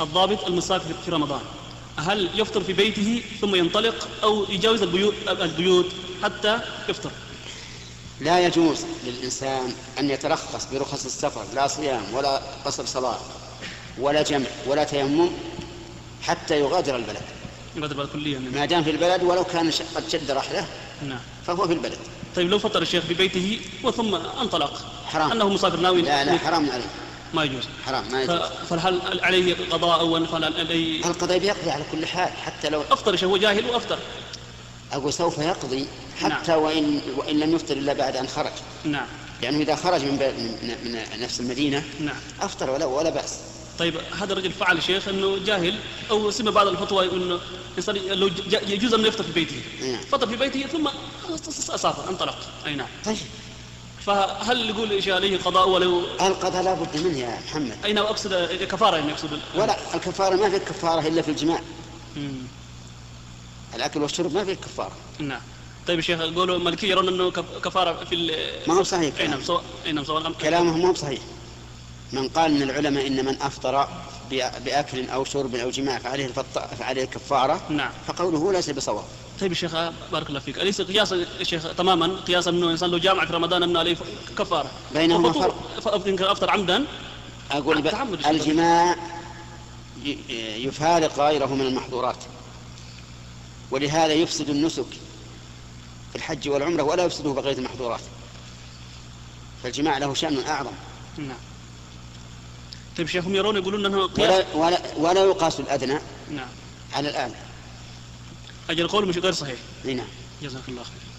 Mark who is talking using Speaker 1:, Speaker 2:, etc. Speaker 1: الضابط المسافر في رمضان هل يفطر في بيته ثم ينطلق أو يجاوز البيوت, البيوت حتى يفطر
Speaker 2: لا يجوز للإنسان أن يترخص برخص السفر لا صيام ولا قصر صلاة ولا جمع ولا تيمم حتى يغادر البلد
Speaker 1: يغادر الكلية نعم.
Speaker 2: ما دام في البلد ولو كان ش- قد شد رحله
Speaker 1: نعم
Speaker 2: فهو في البلد
Speaker 1: طيب لو فطر الشيخ في بيته وثم انطلق
Speaker 2: حرام.
Speaker 1: أنه مسافر ناوي
Speaker 2: نعم. لا لا حرام عليه
Speaker 1: ما يجوز
Speaker 2: حرام ما
Speaker 1: ف-
Speaker 2: يجوز
Speaker 1: فهل عليه قضاء أولا فهل عليه
Speaker 2: القضاء بيقضي على كل حال حتى لو
Speaker 1: أفطر الشيخ هو جاهل وأفطر
Speaker 2: أقول سوف يقضي حتى
Speaker 1: نعم.
Speaker 2: وإن وإن لم يفطر إلا بعد أن خرج
Speaker 1: نعم
Speaker 2: لأنه إذا خرج من بلد من, من نفس المدينة
Speaker 1: نعم
Speaker 2: أفطر ولا ولا بأس
Speaker 1: طيب هذا الرجل فعل شيخ انه جاهل او سمع بعض الفتوى انه الانسان لو ج- يجوز انه يفطر في بيته
Speaker 2: نعم.
Speaker 1: فطر في بيته ثم سافر انطلق اي نعم
Speaker 2: طيب
Speaker 1: فهل يقول ايش عليه قضاء ولو
Speaker 2: القضاء لا بد منه يا محمد
Speaker 1: اي نعم اقصد كفاره يعني اقصد
Speaker 2: ولا الكفارة ما في كفارة إلا في الجماع
Speaker 1: مم.
Speaker 2: الأكل والشرب ما في كفارة
Speaker 1: نعم طيب يا شيخ قولوا المالكيه يرون انه كف- كفاره في ال-
Speaker 2: ما هو صحيح
Speaker 1: اي نعم
Speaker 2: كلامه.
Speaker 1: سواء اي نعم سواء الأمر-
Speaker 2: كلامه مو صحيح من قال من العلماء ان من افطر بأ- باكل او شرب او جماع فعليه الفط... فعليه كفاره
Speaker 1: نعم
Speaker 2: فقوله ليس بصواب
Speaker 1: طيب يا شيخ بارك الله فيك اليس قياسا يا شيخ تماما قياسا انه الانسان لو جامع في رمضان انه عليه كفاره
Speaker 2: بينهما
Speaker 1: وفطور- ف- إن كان افطر عمدا
Speaker 2: اقول ب...
Speaker 1: التعمد يا شيخ.
Speaker 2: الجماع ي- يفارق غيره من المحظورات ولهذا يفسد النسك في الحج والعمره ولا يفسده بقيه المحظورات فالجماع له شان اعظم
Speaker 1: نعم طيب شيخ هم يرون يقولون انه قياس
Speaker 2: ولا ولا, ولا يقاس الادنى
Speaker 1: نعم
Speaker 2: على الاعلى
Speaker 1: اجل قول مش غير صحيح
Speaker 2: نعم
Speaker 1: جزاك الله خير